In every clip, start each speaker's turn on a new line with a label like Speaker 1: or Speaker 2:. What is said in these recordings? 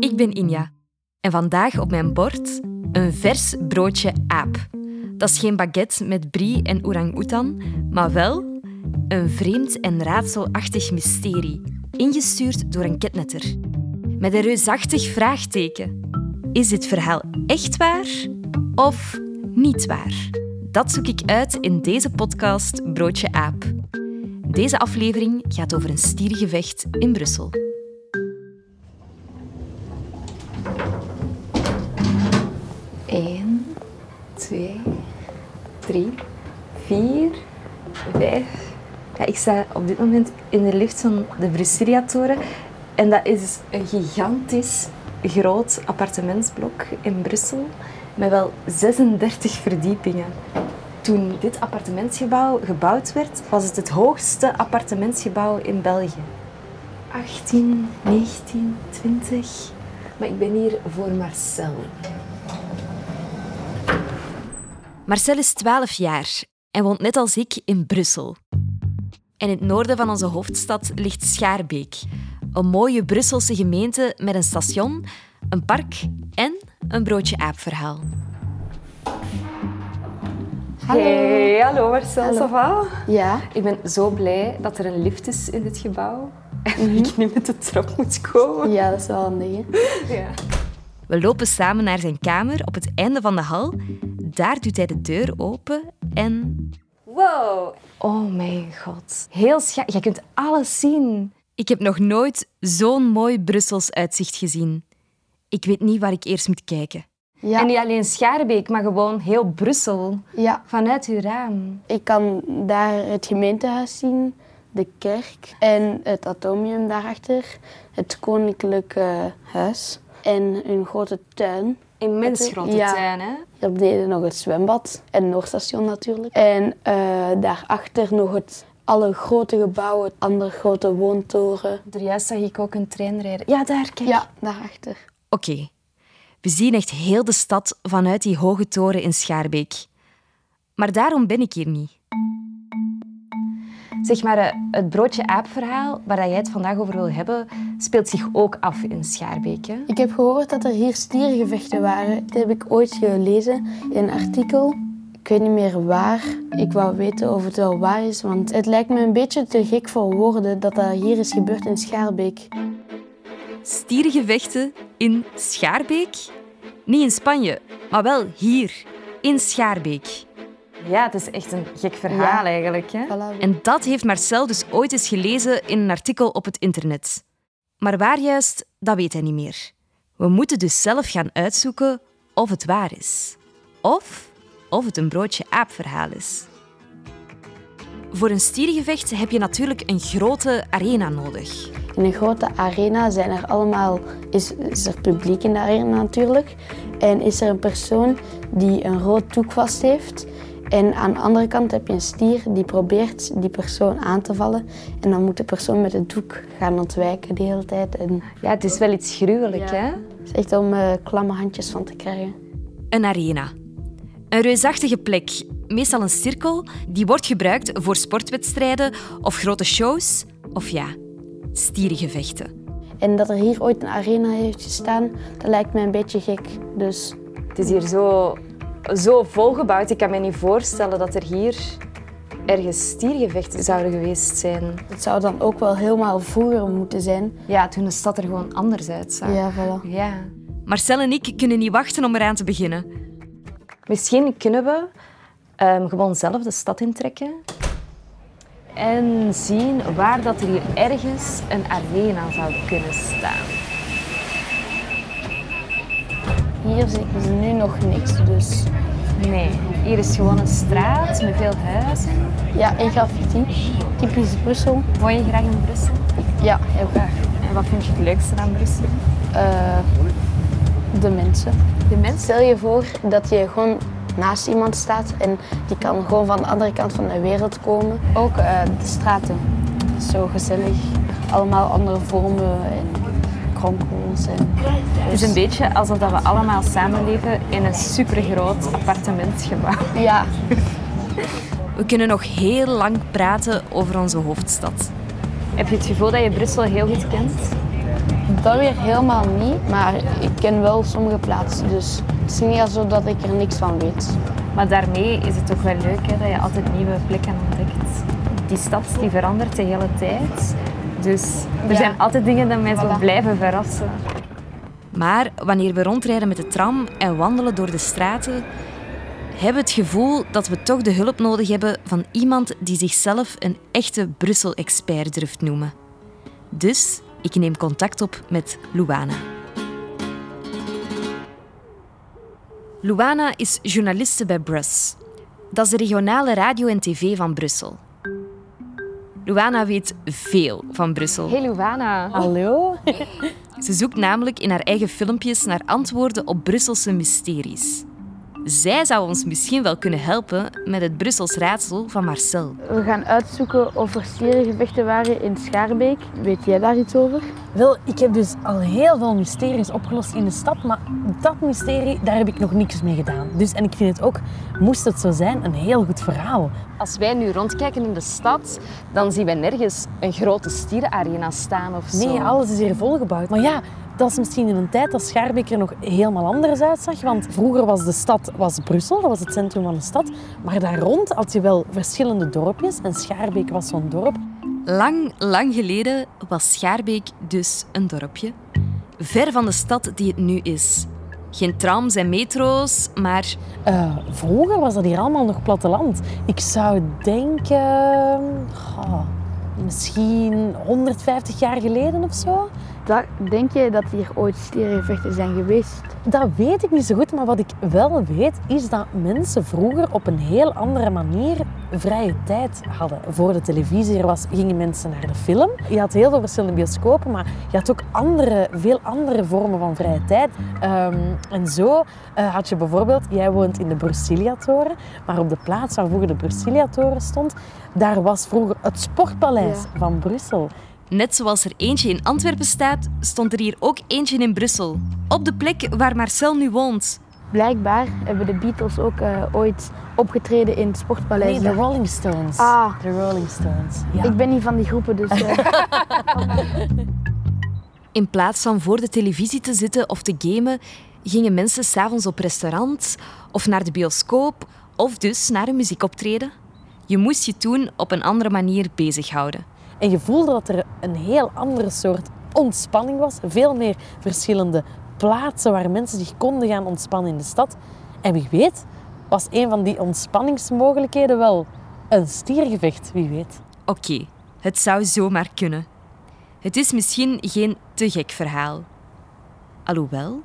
Speaker 1: ik ben Inja. En vandaag op mijn bord een vers broodje aap. Dat is geen baguette met brie en orang-oetan, maar wel een vreemd en raadselachtig mysterie, ingestuurd door een ketnetter. Met een reusachtig vraagteken. Is dit verhaal echt waar of niet waar? Dat zoek ik uit in deze podcast Broodje Aap. Deze aflevering gaat over een stiergevecht in Brussel.
Speaker 2: Eén, twee, drie, vier, vijf. Ja, ik sta op dit moment in de lift van de Brusselia-toren. En dat is een gigantisch groot appartementsblok in Brussel met wel 36 verdiepingen. Toen dit appartementsgebouw gebouwd werd, was het het hoogste appartementsgebouw in België. 18, 19, 20. Maar ik ben hier voor Marcel.
Speaker 1: Marcel is 12 jaar en woont net als ik in Brussel. In het noorden van onze hoofdstad ligt Schaarbeek, een mooie Brusselse gemeente met een station, een park en een broodje aapverhaal.
Speaker 2: Hallo. Hey, hallo Marcel, ça va?
Speaker 3: Ja,
Speaker 2: Ik ben zo blij dat er een lift is in dit gebouw. En dat ik niet met de trap moet komen.
Speaker 3: ja, dat is wel handig. hè.
Speaker 2: Ja.
Speaker 1: We lopen samen naar zijn kamer op het einde van de hal. Daar doet hij de deur open en
Speaker 2: Wow. Oh mijn god. Heel schattig. Jij kunt alles zien.
Speaker 1: Ik heb nog nooit zo'n mooi Brussels uitzicht gezien. Ik weet niet waar ik eerst moet kijken.
Speaker 3: Ja,
Speaker 2: En niet alleen Schaarbeek, maar gewoon heel Brussel.
Speaker 3: ja,
Speaker 2: Vanuit uw raam.
Speaker 3: ik kan daar het gemeentehuis zien, de kerk en het atomium daarachter, het koninklijke huis en een grote tuin.
Speaker 2: Immens grote
Speaker 3: Ja.
Speaker 2: tuin, hè?
Speaker 3: Daar beneden nog het zwembad en het Noordstation natuurlijk. En eh, daarachter nog het alle grote gebouwen, het andere grote woontoren.
Speaker 2: Er juist zag ik ook een trein rijden. Ja, daar, kijk.
Speaker 3: Ja, daarachter.
Speaker 1: Oké, we zien echt heel de stad vanuit die hoge toren in Schaarbeek. Maar daarom ben ik hier niet.
Speaker 2: Zeg maar, eh, het broodje aapverhaal waar dat jij het vandaag over wil hebben, speelt zich ook af in Schaarbeek, hè?
Speaker 3: Ik heb gehoord dat er hier stiergevechten waren. Dat heb ik ooit gelezen in een artikel. Ik weet niet meer waar. Ik wou weten of het wel waar is, want het lijkt me een beetje te gek voor woorden dat dat hier is gebeurd in Schaarbeek.
Speaker 1: Stierengevechten in Schaarbeek? Niet in Spanje, maar wel hier, in Schaarbeek.
Speaker 2: Ja, het is echt een gek verhaal
Speaker 3: Ja.
Speaker 2: eigenlijk, hè?
Speaker 3: Voilà.
Speaker 1: En dat heeft Marcel dus ooit eens gelezen in een artikel op het internet. Maar waar juist, dat weet hij niet meer. We moeten dus zelf gaan uitzoeken of het waar is. Of of het een broodje aapverhaal is. Voor een stierengevecht heb je natuurlijk een grote arena nodig.
Speaker 3: In een grote arena zijn er allemaal, is, is er publiek in de arena natuurlijk. En is er een persoon die een rood doek vast heeft. En aan de andere kant heb je een stier die probeert die persoon aan te vallen. En dan moet de persoon met het doek gaan ontwijken de hele tijd. En
Speaker 2: Ja, het is wel iets gruwelijk,
Speaker 3: Ja.
Speaker 2: hè?
Speaker 3: Het is echt om eh, klamme handjes van te krijgen.
Speaker 1: Een arena. Een reusachtige plek, meestal een cirkel, die wordt gebruikt voor sportwedstrijden of grote shows. Of ja, stierengevechten.
Speaker 3: En dat er hier ooit een arena heeft gestaan, dat lijkt me een beetje gek. Dus
Speaker 2: Het is hier zo, zo volgebouwd. Ik kan me niet voorstellen dat er hier ergens stiergevechten zouden geweest zijn.
Speaker 3: het zou dan ook wel helemaal vroeger moeten zijn.
Speaker 2: Ja, toen de stad er gewoon anders uitzag.
Speaker 3: Ja, voilà.
Speaker 2: Ja.
Speaker 1: Marcel en ik kunnen niet wachten om eraan te beginnen.
Speaker 2: Misschien kunnen we ehm, gewoon zelf de stad intrekken en zien waar dat er hier ergens een arena zou kunnen staan.
Speaker 3: Hier zie ik nu nog niks, dus...
Speaker 2: Nee, hier is gewoon een straat met veel huizen.
Speaker 3: Ja, en graffiti. Typisch Brussel.
Speaker 2: Woon je graag in Brussel?
Speaker 3: Ja, heel graag.
Speaker 2: En wat vind je het leukste aan Brussel?
Speaker 3: Eh, de mensen.
Speaker 2: De mensen.
Speaker 3: Stel je voor dat je gewoon naast iemand staat en die kan gewoon van de andere kant van de wereld komen. Ook eh, de straten. Dat is Zo gezellig. Allemaal andere vormen en kronkels. En...
Speaker 2: Het is een beetje alsof dat we allemaal samenleven in een supergroot appartementsgebouw.
Speaker 3: Ja,
Speaker 1: We kunnen nog heel lang praten over onze hoofdstad.
Speaker 2: Heb je het gevoel dat je Brussel heel goed kent?
Speaker 3: dat weer helemaal niet, maar ik ken wel sommige plaatsen, dus het is niet alsof dat ik er niks van weet.
Speaker 4: Maar daarmee is het toch wel leuk hè, dat je altijd nieuwe plekken ontdekt. Die stad die verandert de hele tijd. Dus er
Speaker 3: Ja.
Speaker 4: zijn altijd dingen dat mensen
Speaker 3: Voilà.
Speaker 4: blijven verrassen.
Speaker 1: Maar wanneer we rondrijden met de tram en wandelen door de straten, hebben we het gevoel dat we toch de hulp nodig hebben van iemand die zichzelf een echte Brussel-expert durft noemen. Dus ik neem contact op met Luana. Luana is journaliste bij Brus. Dat is de regionale radio en tv van Brussel. Luana weet veel van Brussel.
Speaker 4: Hey Luana.
Speaker 5: Hallo?
Speaker 1: Ze zoekt namelijk in haar eigen filmpjes naar antwoorden op Brusselse mysteries. Zij zou ons misschien wel kunnen helpen met het Brussels raadsel van Marcel.
Speaker 3: We gaan uitzoeken of er stierengevechten waren in Schaarbeek. Weet jij daar iets over?
Speaker 5: Wel, ik heb dus al heel veel mysteries opgelost in de stad, maar dat mysterie, daar heb ik nog niks mee gedaan. Dus, en ik vind het ook, moest het zo zijn, een heel goed verhaal.
Speaker 4: Als wij nu rondkijken in de stad, dan zien we nergens een grote stierenarena staan of zo.
Speaker 5: Nee, alles is hier volgebouwd. Maar ja, dat is misschien in een tijd dat Schaarbeek er nog helemaal anders uitzag. Want vroeger was de stad was Brussel, dat was het centrum van de stad. Maar daar rond had je wel verschillende dorpjes en Schaarbeek was zo'n dorp.
Speaker 1: Lang, lang geleden was Schaarbeek dus een dorpje. Ver van de stad die het nu is. Geen trams en metro's, maar
Speaker 5: Eh, vroeger was dat hier allemaal nog platteland. Ik zou denken, goh, misschien 150 jaar geleden of zo.
Speaker 3: denk je dat hier ooit stierengevechten zijn geweest?
Speaker 5: Dat weet ik niet zo goed, maar wat ik wel weet is dat mensen vroeger op een heel andere manier vrije tijd hadden. Voor de televisie er was, gingen mensen naar de film. Je had heel veel verschillende bioscopen, maar je had ook andere, veel andere vormen van vrije tijd. Ehm, en zo eh, had je bijvoorbeeld, jij woont in de Brusiliatoren, maar op de plaats waar vroeger de Brusiliatoren stond, daar was vroeger het Sportpaleis van Brussel.
Speaker 1: net zoals er eentje in Antwerpen staat, stond er hier ook eentje in Brussel. Op de plek waar Marcel nu woont.
Speaker 3: Blijkbaar hebben de Beatles ook eh, ooit opgetreden in het Sportpaleis.
Speaker 5: Nee, de
Speaker 3: daar.
Speaker 5: Rolling Stones.
Speaker 3: Ah.
Speaker 5: De Rolling Stones. Ja.
Speaker 3: Ik ben niet van die groepen, dus... eh,
Speaker 1: In plaats van voor de televisie te zitten of te gamen, gingen mensen s'avonds op restaurant of naar de bioscoop of dus naar een muziekoptreden. Je moest je toen op een andere manier bezighouden.
Speaker 5: En je voelde dat er een heel andere soort ontspanning was. Veel meer verschillende plaatsen waar mensen zich konden gaan ontspannen in de stad. En wie weet, was een van die ontspanningsmogelijkheden wel een stiergevecht, wie weet.
Speaker 1: Oké, het zou zomaar kunnen. Het is misschien geen te gek verhaal. Alhoewel,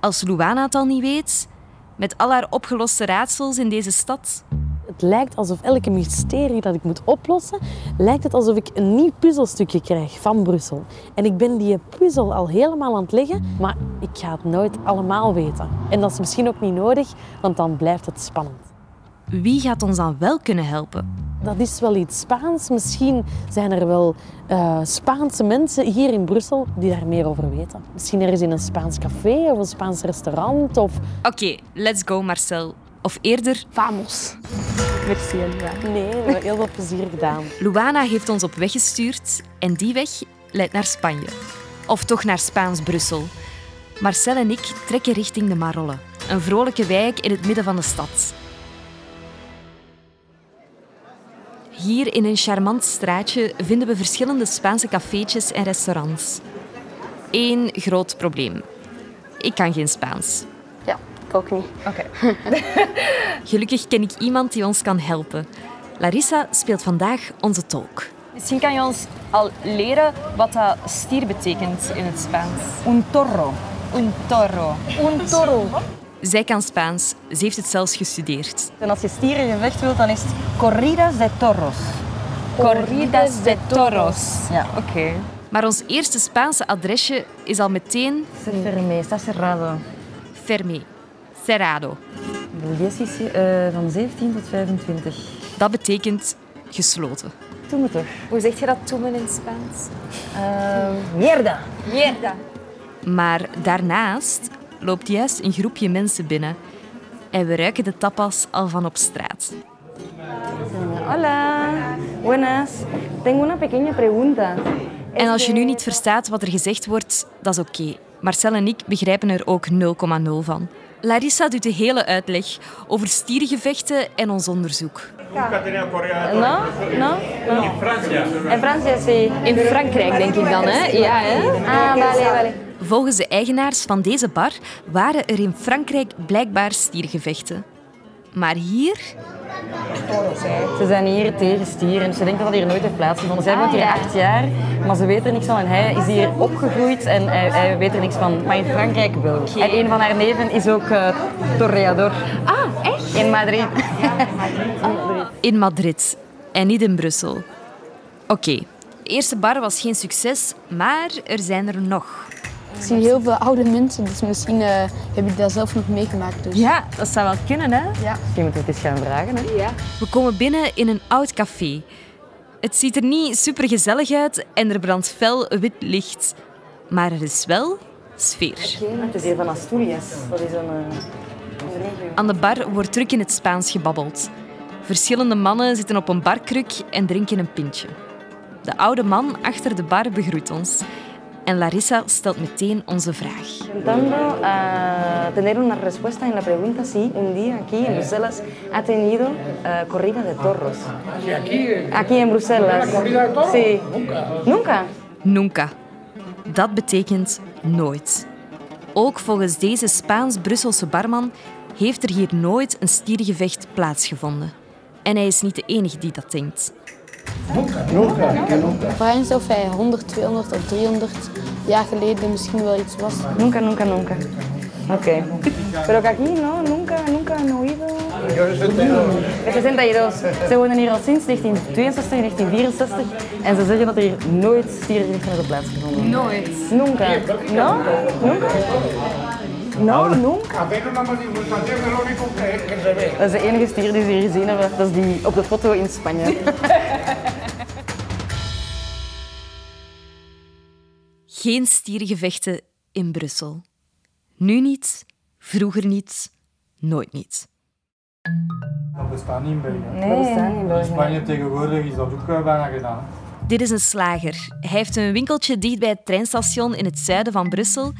Speaker 1: als Luana het al niet weet, met al haar opgeloste raadsels in deze stad,
Speaker 5: Het lijkt alsof elke mysterie dat ik moet oplossen, lijkt het alsof ik een nieuw puzzelstukje krijg van Brussel. En ik ben die puzzel al helemaal aan het leggen, maar ik ga het nooit allemaal weten. En dat is misschien ook niet nodig, want dan blijft het spannend.
Speaker 1: wie gaat ons dan wel kunnen helpen?
Speaker 5: Dat is wel iets Spaans. Misschien zijn er wel eh, Spaanse mensen hier in Brussel die daar meer over weten. Misschien ergens in een Spaans café of een Spaans restaurant. Of...
Speaker 1: Oké, let's go Marcel. Of eerder,
Speaker 3: vamos.
Speaker 4: Merci Luana.
Speaker 5: Nee, we hebben heel veel plezier gedaan.
Speaker 1: Luana heeft ons op weg gestuurd en die weg leidt naar Spanje. Of toch naar Spaans-Brussel. Marcel en ik trekken richting de Marolle, een vrolijke wijk in het midden van de stad. Hier in een charmant straatje vinden we verschillende Spaanse cafeetjes en restaurants. Eén groot probleem. Ik kan geen Spaans.
Speaker 3: Ja, ik ook niet.
Speaker 1: Gelukkig ken ik iemand die ons kan helpen. Larissa speelt vandaag onze tolk.
Speaker 4: Misschien kan je ons al leren wat dat stier betekent in het Spaans.
Speaker 6: Un torro.
Speaker 4: Un toro.
Speaker 1: Zij kan Spaans, ze heeft het zelfs gestudeerd.
Speaker 6: En als je stierengevecht wilt, dan is het corridas de torros.
Speaker 4: Corridas de toros.
Speaker 6: Ja.
Speaker 4: Oké.
Speaker 1: Maar ons eerste Spaanse adresje is al meteen
Speaker 6: Se fermé, está cerrado.
Speaker 1: Fermé, Cerrado.
Speaker 6: De les is eh, van 17 tot 25.
Speaker 1: Dat betekent gesloten.
Speaker 6: Toen moet er.
Speaker 4: Hoe zeg je dat toemen in het Spaans?
Speaker 6: Mierda.
Speaker 4: Mierda.
Speaker 1: Maar daarnaast loopt juist een groepje mensen binnen. En we ruiken de tapas al van op straat.
Speaker 6: Hola. Buenas. Tengo una pequeña pregunta.
Speaker 1: En als je nu niet verstaat wat er gezegd wordt, dat is oké. Marcel en ik begrijpen er ook 0,0 van. Larissa doet de hele uitleg over stierengevechten en ons onderzoek.
Speaker 7: Nunca tenía Corea del
Speaker 4: No, no.
Speaker 7: En Francia.
Speaker 4: En Francia is in Frankrijk, denk ik dan, hè? Ja, hè? Ah, vale, vale.
Speaker 1: Volgens de eigenaars van deze bar waren er in Frankrijk blijkbaar stiergevechten. Maar hier,
Speaker 6: Ze zijn hier tegen stieren. dus Ze denken dat dat hier nooit heeft plaatsgevonden. Zij woont hier acht jaar, maar ze weet er niks van. En hij is hier opgegroeid en hij, hij weet er niks van. Maar in Frankrijk wel. En een van haar neven is ook eh toreador. Ah, echt? In Madrid.
Speaker 1: in Madrid en niet in Brussel. Oké, de eerste bar was geen succes, maar er zijn er nog.
Speaker 3: Ik zie heel veel oude mensen, dus misschien eh, heb ik daar zelf nog meegemaakt. Dus.
Speaker 1: Ja, dat zou wel kunnen, hè?
Speaker 6: Misschien moeten we het eens gaan vragen. Hè?
Speaker 1: We komen binnen in een oud café. Het ziet er niet supergezellig uit en er brandt fel wit licht. Maar er is wel sfeer.
Speaker 6: Het is hier van Asturias. Dat is een...
Speaker 1: Aan de bar wordt druk in het Spaans gebabbeld. Verschillende mannen zitten op een barkruk en drinken een pintje. De oude man achter de bar begroet ons. En Larissa stelt meteen onze vraag.
Speaker 6: Intentando eh, tener una respuesta en la pregunta si un día aquí en Bruselas ha tenido eh, corrida de toros.
Speaker 8: Y aquí, eh,
Speaker 6: Aquí en Bruselas.
Speaker 8: corrida de toros?
Speaker 6: Sí.
Speaker 8: nunca.
Speaker 6: Nunca.
Speaker 1: Nunca. Dat betekent nooit. Ook volgens deze Spaans-Brusselse barman heeft er hier nooit een stiergevecht plaatsgevonden. En hij is niet de enige die dat denkt.
Speaker 3: Vraag is of hij 100, 200 of 300 jaar geleden misschien wel iets was.
Speaker 6: Nunca, nunca, nunca. Ok. Pero que aquí no, nunca, nunca han oído.
Speaker 8: Yo en el 72.
Speaker 6: De 62. Ze wonen hier al sinds 1962, 1964. En ze zeggen dat er hier nooit stierenrechten hebben plaatsgevonden. Nooit. Dus Nunca. No? Nunca? No, nunca.
Speaker 8: Apenas una manifestación es lo único que, que se ve.
Speaker 6: Dat is de enige stier die ze hier gezien hebben. Dat is die op de foto in Spanje.
Speaker 1: Geen stiergevechten in Brussel. Nu niet, vroeger niet, nooit niet.
Speaker 9: Dat bestaat niet in België.
Speaker 6: Nee. Dat bestaan in
Speaker 9: In
Speaker 6: België.
Speaker 9: Spanje tegenwoordig is dat ook eh, bijna gedaan. hè.
Speaker 1: Dit is een slager. Hij heeft een winkeltje dicht bij het treinstation in het zuiden van Brussel.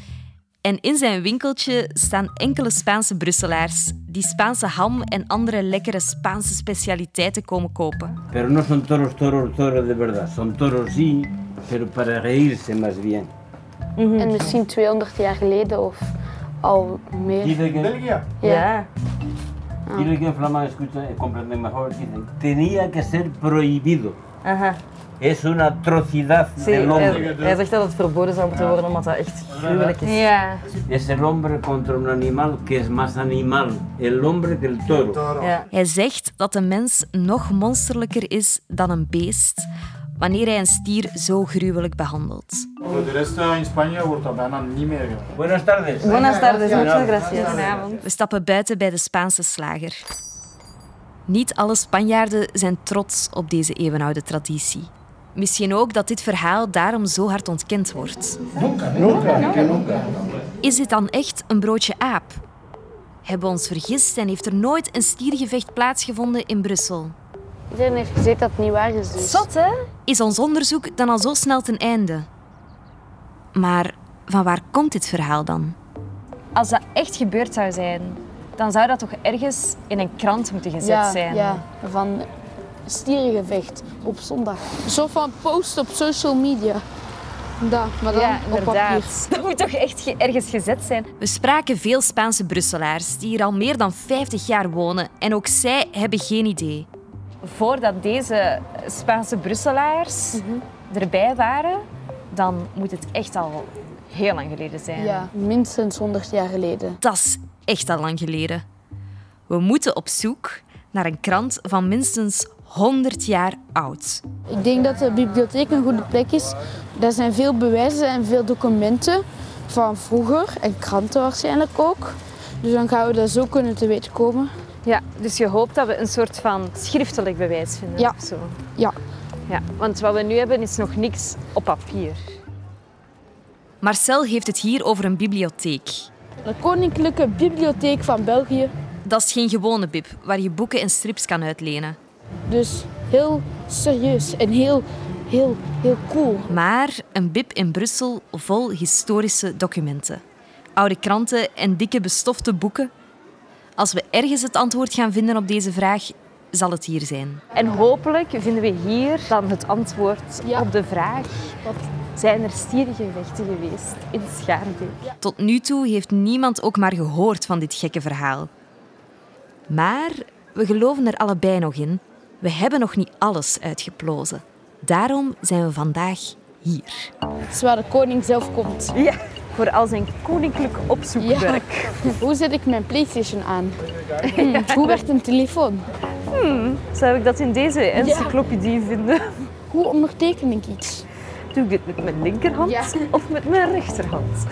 Speaker 1: En in zijn winkeltje staan enkele Spaanse Brusselaars die Spaanse ham en andere lekkere Spaanse specialiteiten komen kopen.
Speaker 10: Pero no son toros, toros, toros de verdad. Son toros sí, pero para reírse más bien.
Speaker 3: En misschien 200 jaar geleden of al meer.
Speaker 10: Dice que,
Speaker 9: België?
Speaker 6: Ja.
Speaker 10: dice que en flamán, escucha, eh, comprende mejor. Dice, tenía que ser prohibido.
Speaker 6: Aha.
Speaker 10: Es una atrocidad
Speaker 6: Zie,
Speaker 10: del
Speaker 6: hij,
Speaker 10: hombre.
Speaker 6: hij zegt dat het verboden zou moeten worden omdat dat echt gruwelijk is.
Speaker 4: Ja.
Speaker 10: Es el hombre contra un animal que es más animal, el hombre que el toro.
Speaker 6: Ja.
Speaker 1: Hij zegt dat de mens nog monsterlijker is dan een beest wanneer hij een stier zo gruwelijk behandelt.
Speaker 9: Voor de rest eh, in Spanje wordt dat bijna niet meer gedaan.
Speaker 10: Buenas tardes.
Speaker 6: Buenas tardes, muchas gracias.
Speaker 1: We stappen buiten bij de Spaanse slager. Niet alle Spanjaarden zijn trots op deze eeuwenoude traditie. Misschien ook dat dit verhaal daarom zo hard ontkend wordt. Is dit dan echt een broodje aap? Hebben we ons vergist en heeft er nooit een stiergevecht plaatsgevonden in Brussel?
Speaker 3: Iedereen heeft gezegd dat het niet waar is. Dus.
Speaker 4: Zot, hè?
Speaker 1: Is ons onderzoek dan al zo snel ten einde? Maar van waar komt dit verhaal dan?
Speaker 4: Als dat echt gebeurd zou zijn, dan zou dat toch ergens in een krant moeten gezet
Speaker 3: ja,
Speaker 4: zijn?
Speaker 3: ja, van stierengevecht op zondag. Zo van post op social media. Daar, maar dan
Speaker 4: Ja,
Speaker 3: op papier.
Speaker 4: inderdaad. Dat moet toch echt ge- ergens gezet zijn?
Speaker 1: We spraken veel Spaanse Brusselaars die hier al meer dan 50 jaar wonen en ook zij hebben geen idee.
Speaker 4: Voordat deze Spaanse Brusselaars
Speaker 3: Mhm.
Speaker 4: erbij waren, dan moet het echt al heel lang geleden zijn.
Speaker 3: Ja, minstens 100 jaar geleden.
Speaker 1: Dat is echt al lang geleden. We moeten op zoek naar een krant van minstens 100 jaar oud.
Speaker 3: Ik denk dat de bibliotheek een goede plek is. Daar zijn veel bewijzen en veel documenten van vroeger en kranten waarschijnlijk ook. Dus dan gaan we dat zo kunnen te weten komen.
Speaker 4: Ja, dus je hoopt dat we een soort van schriftelijk bewijs vinden
Speaker 3: Ja.
Speaker 4: of zo.
Speaker 3: Ja.
Speaker 4: Ja, want wat we nu hebben is nog niks op papier.
Speaker 1: Marcel heeft het hier over een bibliotheek.
Speaker 3: De Koninklijke Bibliotheek van België.
Speaker 1: Dat is geen gewone bib waar je boeken en strips kan uitlenen.
Speaker 3: Dus heel serieus en heel
Speaker 11: heel, heel cool.
Speaker 1: Maar een bib in Brussel vol historische documenten. Oude kranten en dikke bestofte boeken. Als we ergens het antwoord gaan vinden op deze vraag, zal het hier zijn.
Speaker 6: En hopelijk vinden we hier dan het antwoord op de vraag. Zijn er stierengevechten geweest in Schaarbeek?
Speaker 1: Tot nu toe heeft niemand ook maar gehoord van dit gekke verhaal. Maar we geloven er allebei nog in. We hebben nog niet alles uitgeplozen. Daarom zijn we vandaag hier.
Speaker 3: Het is waar de koning zelf komt. Ja, voor al zijn koninklijk opzoekwerk. Hoe zet ik mijn PlayStation aan? Hmm, Hoe werkt een telefoon?
Speaker 6: Hmm, zou ik dat in deze encyclopedie vinden?
Speaker 3: Hoe onderteken ik iets?
Speaker 6: Doe ik dit met mijn linkerhand of met mijn rechterhand?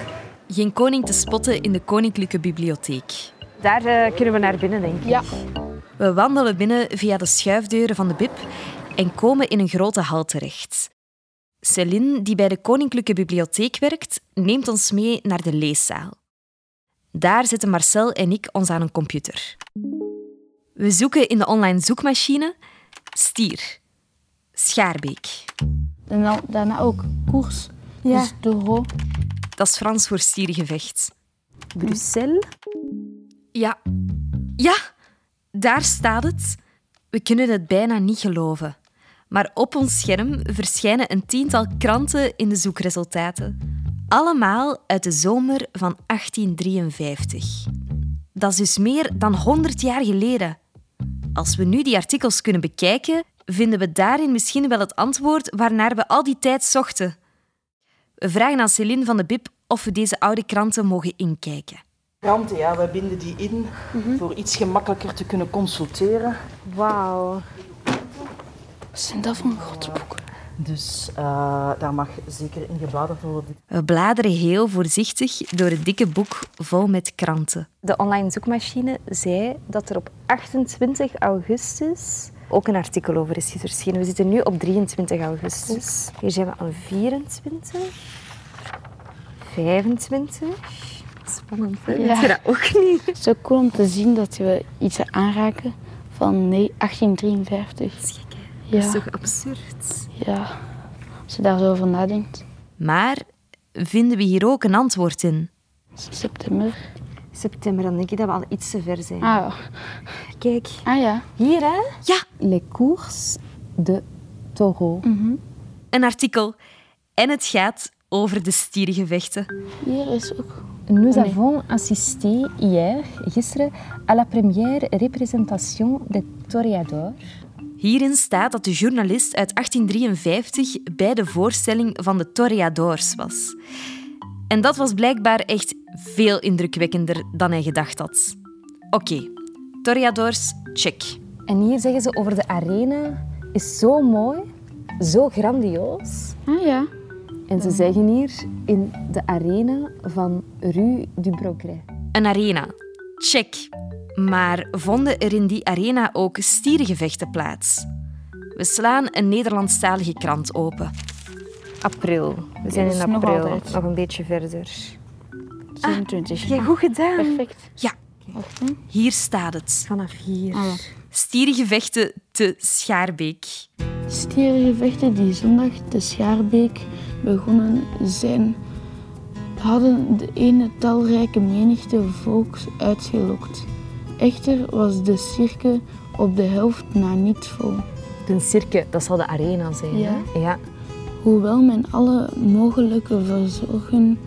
Speaker 1: Geen koning te spotten in de Koninklijke Bibliotheek.
Speaker 6: Daar eh, kunnen we naar binnen, denk ik. Ja.
Speaker 1: We wandelen binnen via de schuifdeuren van de BIP en komen in een grote hal terecht. Céline, die bij de Koninklijke Bibliotheek werkt, neemt ons mee naar de leeszaal. Daar zitten Marcel en ik ons aan een computer. We zoeken in de online zoekmachine stier, schaarbeek.
Speaker 3: En dan, daarna ook koers.
Speaker 1: Ja.
Speaker 3: Dus de ro.
Speaker 1: Dat is Frans voor stierengevecht.
Speaker 6: Bruxelles?
Speaker 1: Ja. Ja, daar staat het. We kunnen het bijna niet geloven. Maar op ons scherm verschijnen een tiental kranten in de zoekresultaten. Allemaal uit de zomer van 1853. Dat is dus meer dan 100 jaar geleden. Als we nu die artikels kunnen bekijken, vinden we daarin misschien wel het antwoord waarnaar we al die tijd zochten. We vragen aan Céline van de Bib of we deze oude kranten mogen inkijken.
Speaker 12: Kranten, ja, wij binden die in
Speaker 3: Mhm.
Speaker 12: voor iets gemakkelijker te kunnen consulteren.
Speaker 6: Wauw.
Speaker 3: Wat zijn dat voor een grote boek?
Speaker 12: Dus eh, daar mag zeker in gebladerd worden.
Speaker 1: We bladeren heel voorzichtig door het dikke boek vol met kranten.
Speaker 6: De online zoekmachine zei dat er op 28 augustus ook een artikel over is verschenen. We zitten nu op 23 augustus. Hier zijn we aan 24, 25. Spannend, hè? Weet je dat ook niet.
Speaker 3: Zo cool om te zien dat we iets aanraken van nee, 1853. Dat
Speaker 1: is
Speaker 3: Ja.
Speaker 1: Dat is toch absurd?
Speaker 3: Ja, als je daar zo over nadenkt.
Speaker 1: Maar vinden we hier ook een antwoord in?
Speaker 3: September.
Speaker 6: September, dan denk ik dat we al iets te ver zijn.
Speaker 3: Ah.
Speaker 6: Kijk.
Speaker 3: Ah ja.
Speaker 6: Hier, hè?
Speaker 1: Ja.
Speaker 6: Les courses de taureau.
Speaker 1: Een artikel. En het gaat over de stierengevechten.
Speaker 3: Hier is ook.
Speaker 6: Nous avons assisté hier, gisteren, à la première représentation des toreadors.
Speaker 1: Hierin staat dat de journalist uit 1853 bij de voorstelling van de Toreadors was. En dat was blijkbaar echt veel indrukwekkender dan hij gedacht had. Oké, Toreadors, check.
Speaker 6: En hier zeggen ze over de arena is zo mooi, zo grandioos.
Speaker 3: Ah ja.
Speaker 6: En ze zeggen hier in de arena van Rue du Progrès.
Speaker 1: Een arena. Check. Maar vonden er in die arena ook stierengevechten plaats? We slaan een Nederlandstalige krant open.
Speaker 6: April. We zijn in april, nog, een beetje verder.
Speaker 3: 27.
Speaker 6: ja, goed gedaan.
Speaker 3: Perfect.
Speaker 1: Ja. Hier staat het.
Speaker 6: Vanaf hier.
Speaker 1: Stierengevechten te Schaarbeek.
Speaker 3: Stierengevechten die zondag te Schaarbeek begonnen zijn, hadden de ene talrijke menigte volks uitgelokt. Echter was de cirkel op de helft na niet vol.
Speaker 6: Een cirke, dat zal de arena zijn.
Speaker 3: Ja.
Speaker 6: hè? ja.
Speaker 3: Hoewel men alle mogelijke verzorgen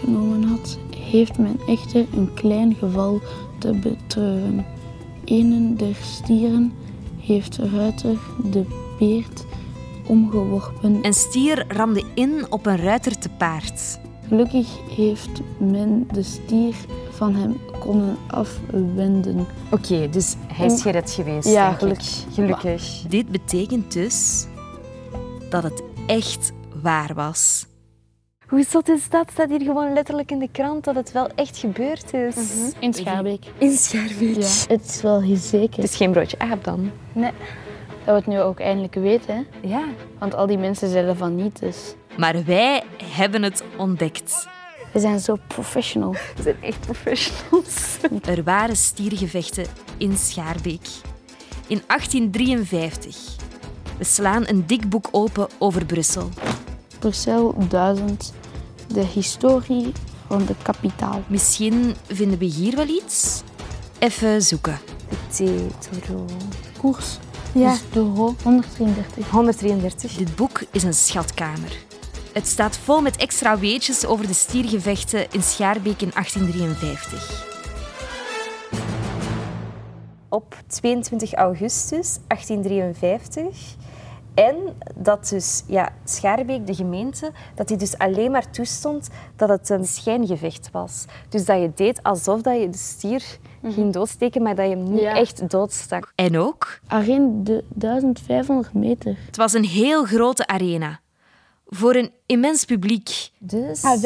Speaker 3: genomen had, heeft men echter een klein geval te betreuren. Een der stieren heeft ruiter de beert omgeworpen.
Speaker 1: Een stier ramde in op een ruiter te paard.
Speaker 3: Gelukkig heeft men de stier van hem konden afwenden.
Speaker 6: Oké, dus hij is gered geweest,
Speaker 3: Ja,
Speaker 6: denk ik.
Speaker 3: gelukkig.
Speaker 6: Gelukkig.
Speaker 1: Dit betekent dus dat het echt waar was.
Speaker 6: Hoe zot is dat? Staat hier gewoon letterlijk in de krant dat het wel echt gebeurd is.
Speaker 3: In Schaarbeek.
Speaker 6: In Schaarbeek.
Speaker 3: Ja, het is wel heel zeker. Het
Speaker 6: is geen broodje aap dan.
Speaker 3: Nee, dat we het nu ook eindelijk weten. Hè?
Speaker 6: Ja.
Speaker 3: Want al die mensen zeiden van niet, dus...
Speaker 1: Maar wij hebben het ontdekt.
Speaker 3: We zijn zo professional. We
Speaker 6: zijn echt professionals.
Speaker 1: Er waren stiergevechten in Schaarbeek. In 1853. We slaan een dik boek open over Brussel.
Speaker 3: Brussel 1000, de historie van de kapitaal.
Speaker 1: Misschien vinden we hier wel iets? Even zoeken.
Speaker 6: De
Speaker 3: Koers is Dus de ho- 133.
Speaker 1: 133. Dit boek is een schatkamer. Het staat vol met extra weetjes over de stiergevechten in Schaarbeek in 1853.
Speaker 6: op 22 augustus 1853. En dat dus ja, Schaarbeek, de gemeente, dat die dus alleen maar toestond dat het een schijngevecht was. Dus dat je deed alsof dat je de stier ging doodsteken, maar dat je hem niet echt doodstak.
Speaker 1: Mhm. En ook?
Speaker 3: Arena de 1500 meter.
Speaker 1: Het was een heel grote arena. Voor een immens publiek.
Speaker 6: Dus...
Speaker 3: Ah,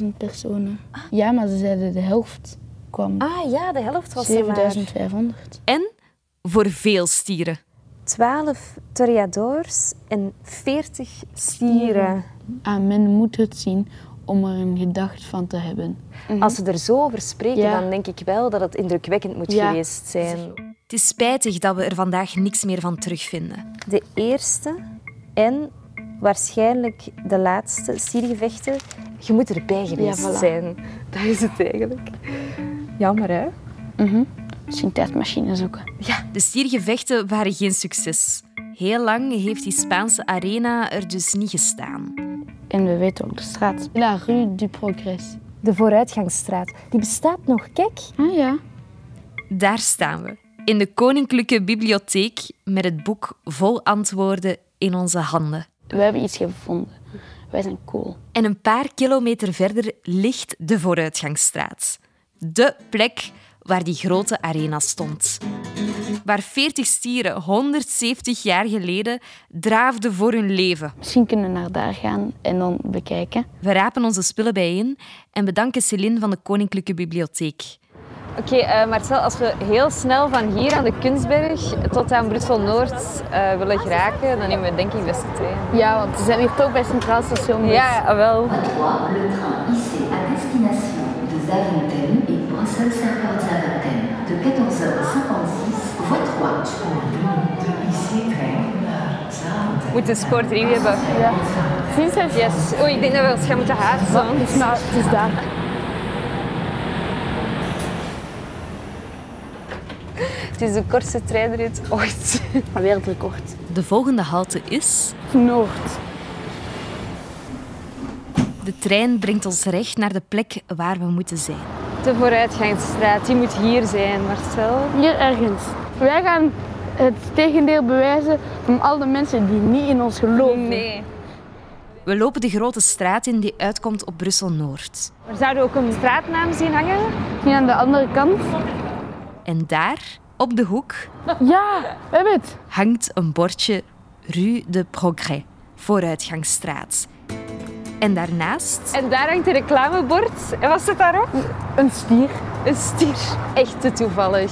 Speaker 3: 15.000 personen. Ja, maar ze zeiden de helft kwam.
Speaker 6: Ah ja, de helft was er maar.
Speaker 3: 7500.
Speaker 1: En voor veel stieren.
Speaker 6: 12 toreadors en 40 stieren.
Speaker 3: En Ah, men moet het zien om er een gedacht van te hebben.
Speaker 6: Als ze er zo over spreken,
Speaker 3: Ja.
Speaker 6: dan denk ik wel dat het indrukwekkend moet
Speaker 3: Ja.
Speaker 6: geweest zijn.
Speaker 1: Het is spijtig dat we er vandaag niks meer van terugvinden.
Speaker 6: De eerste en waarschijnlijk de laatste siergevechten. Je moet erbij geweest
Speaker 3: voilà.
Speaker 6: zijn. Dat is het eigenlijk. Jammer, hè?
Speaker 3: Mhm. Misschien tijdmachine zoeken.
Speaker 1: De stiergevechten waren geen succes. Heel lang heeft die Spaanse arena er dus niet gestaan.
Speaker 3: En we weten ook de straat. La Rue du Progrès.
Speaker 6: De vooruitgangsstraat. Die bestaat nog, kijk.
Speaker 3: Ah ja.
Speaker 1: Daar staan we, in de Koninklijke Bibliotheek met het boek vol antwoorden in onze handen.
Speaker 3: We hebben iets gevonden. Wij zijn cool.
Speaker 1: En een paar kilometer verder ligt de vooruitgangsstraat. De plek waar die grote arena stond. Waar 40 stieren 170 jaar geleden draafden voor hun leven.
Speaker 3: Misschien kunnen we naar daar gaan en dan bekijken.
Speaker 1: We rapen onze spullen bijeen en bedanken Céline van de Koninklijke Bibliotheek.
Speaker 6: Oké, eh, Marcel, als we heel snel van hier aan de Kunstberg tot aan Brussel-Noord eh, willen geraken, dan nemen we denk ik best de trein.
Speaker 3: Ja, want we zijn hier toch bij Centraal Station. dus-
Speaker 6: Ja, ah, wel.
Speaker 13: Le train IC à destination de Zaventem et Bruxelles-Saint-Claude-Zaventem de 14h56, voie 3.
Speaker 6: We moeten spoor 3 hebben. Ja. Yes. Oei, ik denk dat we ons gaan moeten haasten. Nou, het is daar. Het is de kortste treinrit ooit.
Speaker 3: Wereldrecord.
Speaker 1: De volgende halte is.
Speaker 3: Noord.
Speaker 1: De trein brengt ons recht naar de plek waar we moeten zijn.
Speaker 6: De vooruitgangsstraat, die moet hier zijn, Marcel.
Speaker 3: Hier ergens. Wij gaan het tegendeel bewijzen van al de mensen die niet in ons geloven.
Speaker 6: Nee.
Speaker 1: We lopen de grote straat in die uitkomt op Brussel-Noord.
Speaker 6: Maar zouden we ook een straatnaam zien hangen?
Speaker 3: Misschien aan de andere kant.
Speaker 1: En daar, op de hoek,
Speaker 3: Ja, we hebben het.
Speaker 1: hangt een bordje Rue de Progrès, vooruitgangsstraat. En daarnaast,
Speaker 6: En daar hangt een reclamebord. En wat zit daarop?
Speaker 3: Een stier.
Speaker 6: Een stier. Echt te toevallig.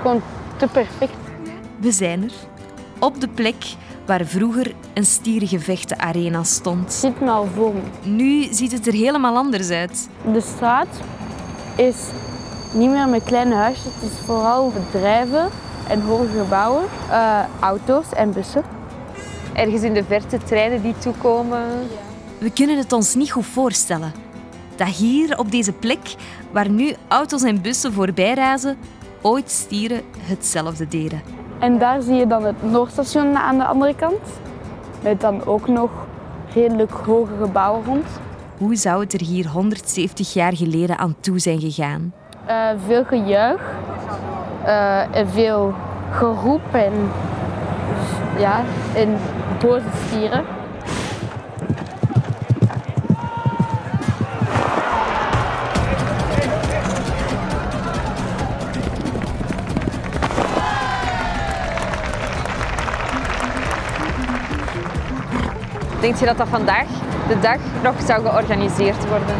Speaker 3: Gewoon te perfect.
Speaker 1: we zijn er. Op de plek waar vroeger een stierengevechten-arena stond.
Speaker 3: Zit me al voor me.
Speaker 1: Nu ziet het er helemaal anders uit.
Speaker 3: De straat is niet meer met kleine huisjes. Het is vooral bedrijven en hoge gebouwen. eh, auto's en bussen.
Speaker 6: Ergens in de verte treinen die toekomen.
Speaker 1: We kunnen het ons niet goed voorstellen. Dat hier, op deze plek, waar nu auto's en bussen voorbij razen, ooit stieren hetzelfde deden.
Speaker 3: En daar zie je dan het Noordstation aan de andere kant. Met dan ook nog redelijk hoge gebouwen rond.
Speaker 1: Hoe zou het er hier 170 jaar geleden aan toe zijn gegaan?
Speaker 3: Eh, veel gejuich. eh, en veel geroep en, ja, en boze stieren.
Speaker 6: Denk je dat dat vandaag, de dag, nog zou georganiseerd worden?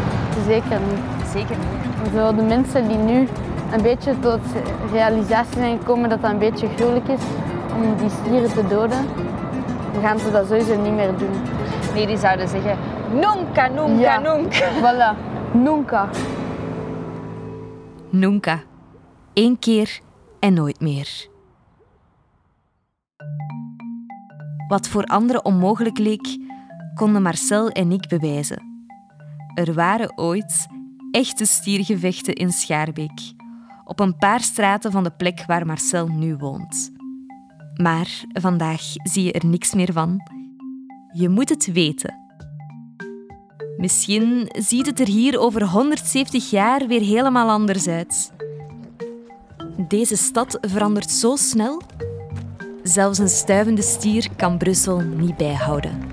Speaker 3: Zeker niet.
Speaker 6: Zeker niet.
Speaker 3: Zo de mensen die nu een beetje tot realisatie zijn gekomen dat dat een beetje gruwelijk is om die stieren te doden, dan gaan ze dat sowieso niet meer doen.
Speaker 6: Nee, die zouden zeggen, nunca, nunca,
Speaker 3: Ja.
Speaker 6: nunca.
Speaker 3: Voilà, nunca.
Speaker 1: Nunca. Eén keer en nooit meer. Wat voor anderen onmogelijk leek, konden Marcel en ik bewijzen. Er waren ooit echte stiergevechten in Schaarbeek, op een paar straten van de plek waar Marcel nu woont. Maar vandaag zie je er niks meer van. Je moet het weten. Misschien ziet het er hier over 170 jaar weer helemaal anders uit. Deze stad verandert zo snel, zelfs een stuivende stier kan Brussel niet bijhouden.